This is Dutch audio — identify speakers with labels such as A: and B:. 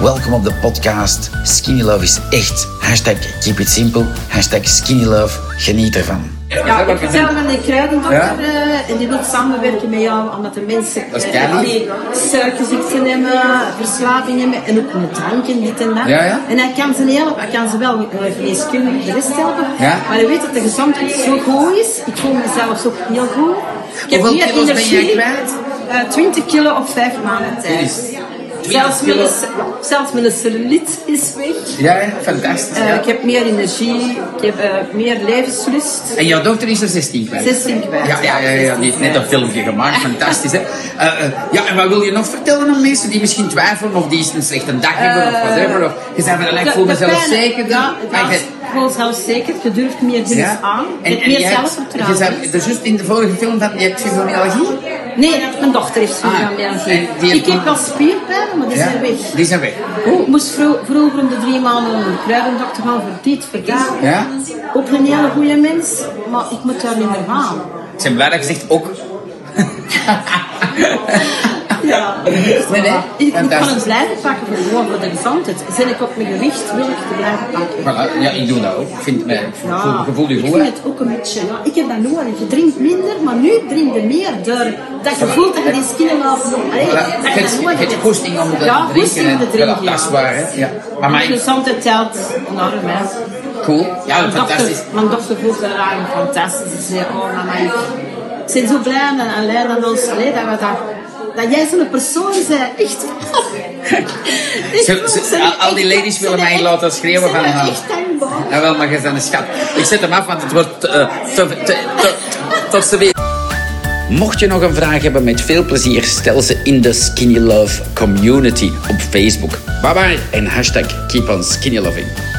A: Welkom op de podcast. Skinny Love is echt. Hashtag keep it simple. Hashtag skinny love. Geniet ervan.
B: Ja, ik vertel van die kruidendokter eh, en die wil samenwerken met jou omdat de mensen
C: Dat is
B: eh,
C: keilief.
B: die suikerziekten hebben, verslaving hebben en ook met drank en dit en dat.
C: Ja, ja.
B: En hij kan ze niet helpen, hij kan ze wel eh, geneeskundig de rest helpen.
C: Ja.
B: Maar hij weet dat de gezondheid zo goed is. Ik voel mezelf ook heel goed. Ik heb
C: Hoeveel
B: meer
C: kilo's ben
B: energie.
C: jij kwijt?
B: Eh, 20 kilo op 5 maanden tijd.
C: Jezus.
B: Zelfs
C: 20
B: mijn,
C: kilo.
B: zelfs mijn celluliet is weg.
C: Ja, hè? fantastisch.
B: Eh,
C: ja.
B: ik heb meer energie, ik heb eh, meer levenslust.
C: En jouw dochter is er 16 kwijt.
B: 16 kwijt.
C: Ja, ja, ja, ja, die heeft net een filmpje gemaakt. Fantastisch, hè? Eh, eh, ja, en wat wil je nog vertellen aan mensen die misschien twijfelen of die eens een slechte dag hebben
B: Eh,
C: of whatever? Of, je zei van, "Allee, ik voel mezelf zeker.
B: Ja,
C: Maar
B: ja,
C: je-
B: gewoon zelfzeker. Je durft meer dingen
C: ja.
B: aan. Je
C: En,
B: hebt
C: en
B: meer
C: jij-
B: zelfvertrouwen.
C: Je zei, dus juist in de vorige film van, je hebt fibromyalgie?
B: Nee, dat- mijn dochter heeft fibromyalgie.
C: Ah, en die-
B: ik heb wel spierpijn, maar die
C: Ja,
B: zijn weg. Oh,
C: Die zijn weg.
B: Ik moest vro- vroeger om de drie maanden naar de kruidendokter gaan voor dit, voor dat.
C: Ja.
B: Ook een hele goede mens, maar ik moet daar niet meer gaan.
C: Ik ben blij dat je zegt ook.
B: Ja,
C: Nee, nee.
B: Ik moet
C: Fantastisch.
B: gewoon blijven pakken voor gewoon voor de gezondheid. Zijn ik op mijn gewicht, wil ik te blijven pakken.
C: Voilà, ja, ik doe dat ook. Ik vind het, ik voel,
B: Ja,
C: ik voel je
B: ik
C: goed,
B: vind
C: hè?
B: het ook een beetje. Ja. Ik heb dat nodig. Je drinkt minder, maar nu drink je meer. Door dat gevoel dat je die skinny laat doen. Allee,
C: Voilà.
B: dat je
C: Het,
B: dat nodig
C: het
B: hebt.
C: goesting om te
B: ja,
C: drinken.
B: goesting om
C: en-
B: te drinken.
C: voilà, dat is
B: ja. Dus-
C: waar, hè? Ja. Maar
B: De
C: mijn,
B: gezondheid telt enorm, hè.
C: cool. Ja,
B: Mijn dochter-
C: fantastisch.
B: Mijn dochter voelt daar aan fantastisch. Ze zei, oh mama, ik ik ben zo blij en en blij dat ons, allee, dat, we dat, dat jij zo'n persoon bent. Echt. Echt,
C: Ze- ze-
B: ik ben
C: al- al die
B: echt-
C: ladies
B: ik
C: willen
B: ben
C: mij
B: echt-
C: laten schreeuwen
B: ik ben
C: van haar.
B: echt dankbaar.
C: Jawel, Nou, maar je bent een schat. Ik zet hem af, want het wordt eh, te, te, te, tot ze weer.
A: Mocht je nog een vraag hebben, met veel plezier stel ze in de Skinny Love Community op Facebook. Bye bye en hashtag keep on skinny loving.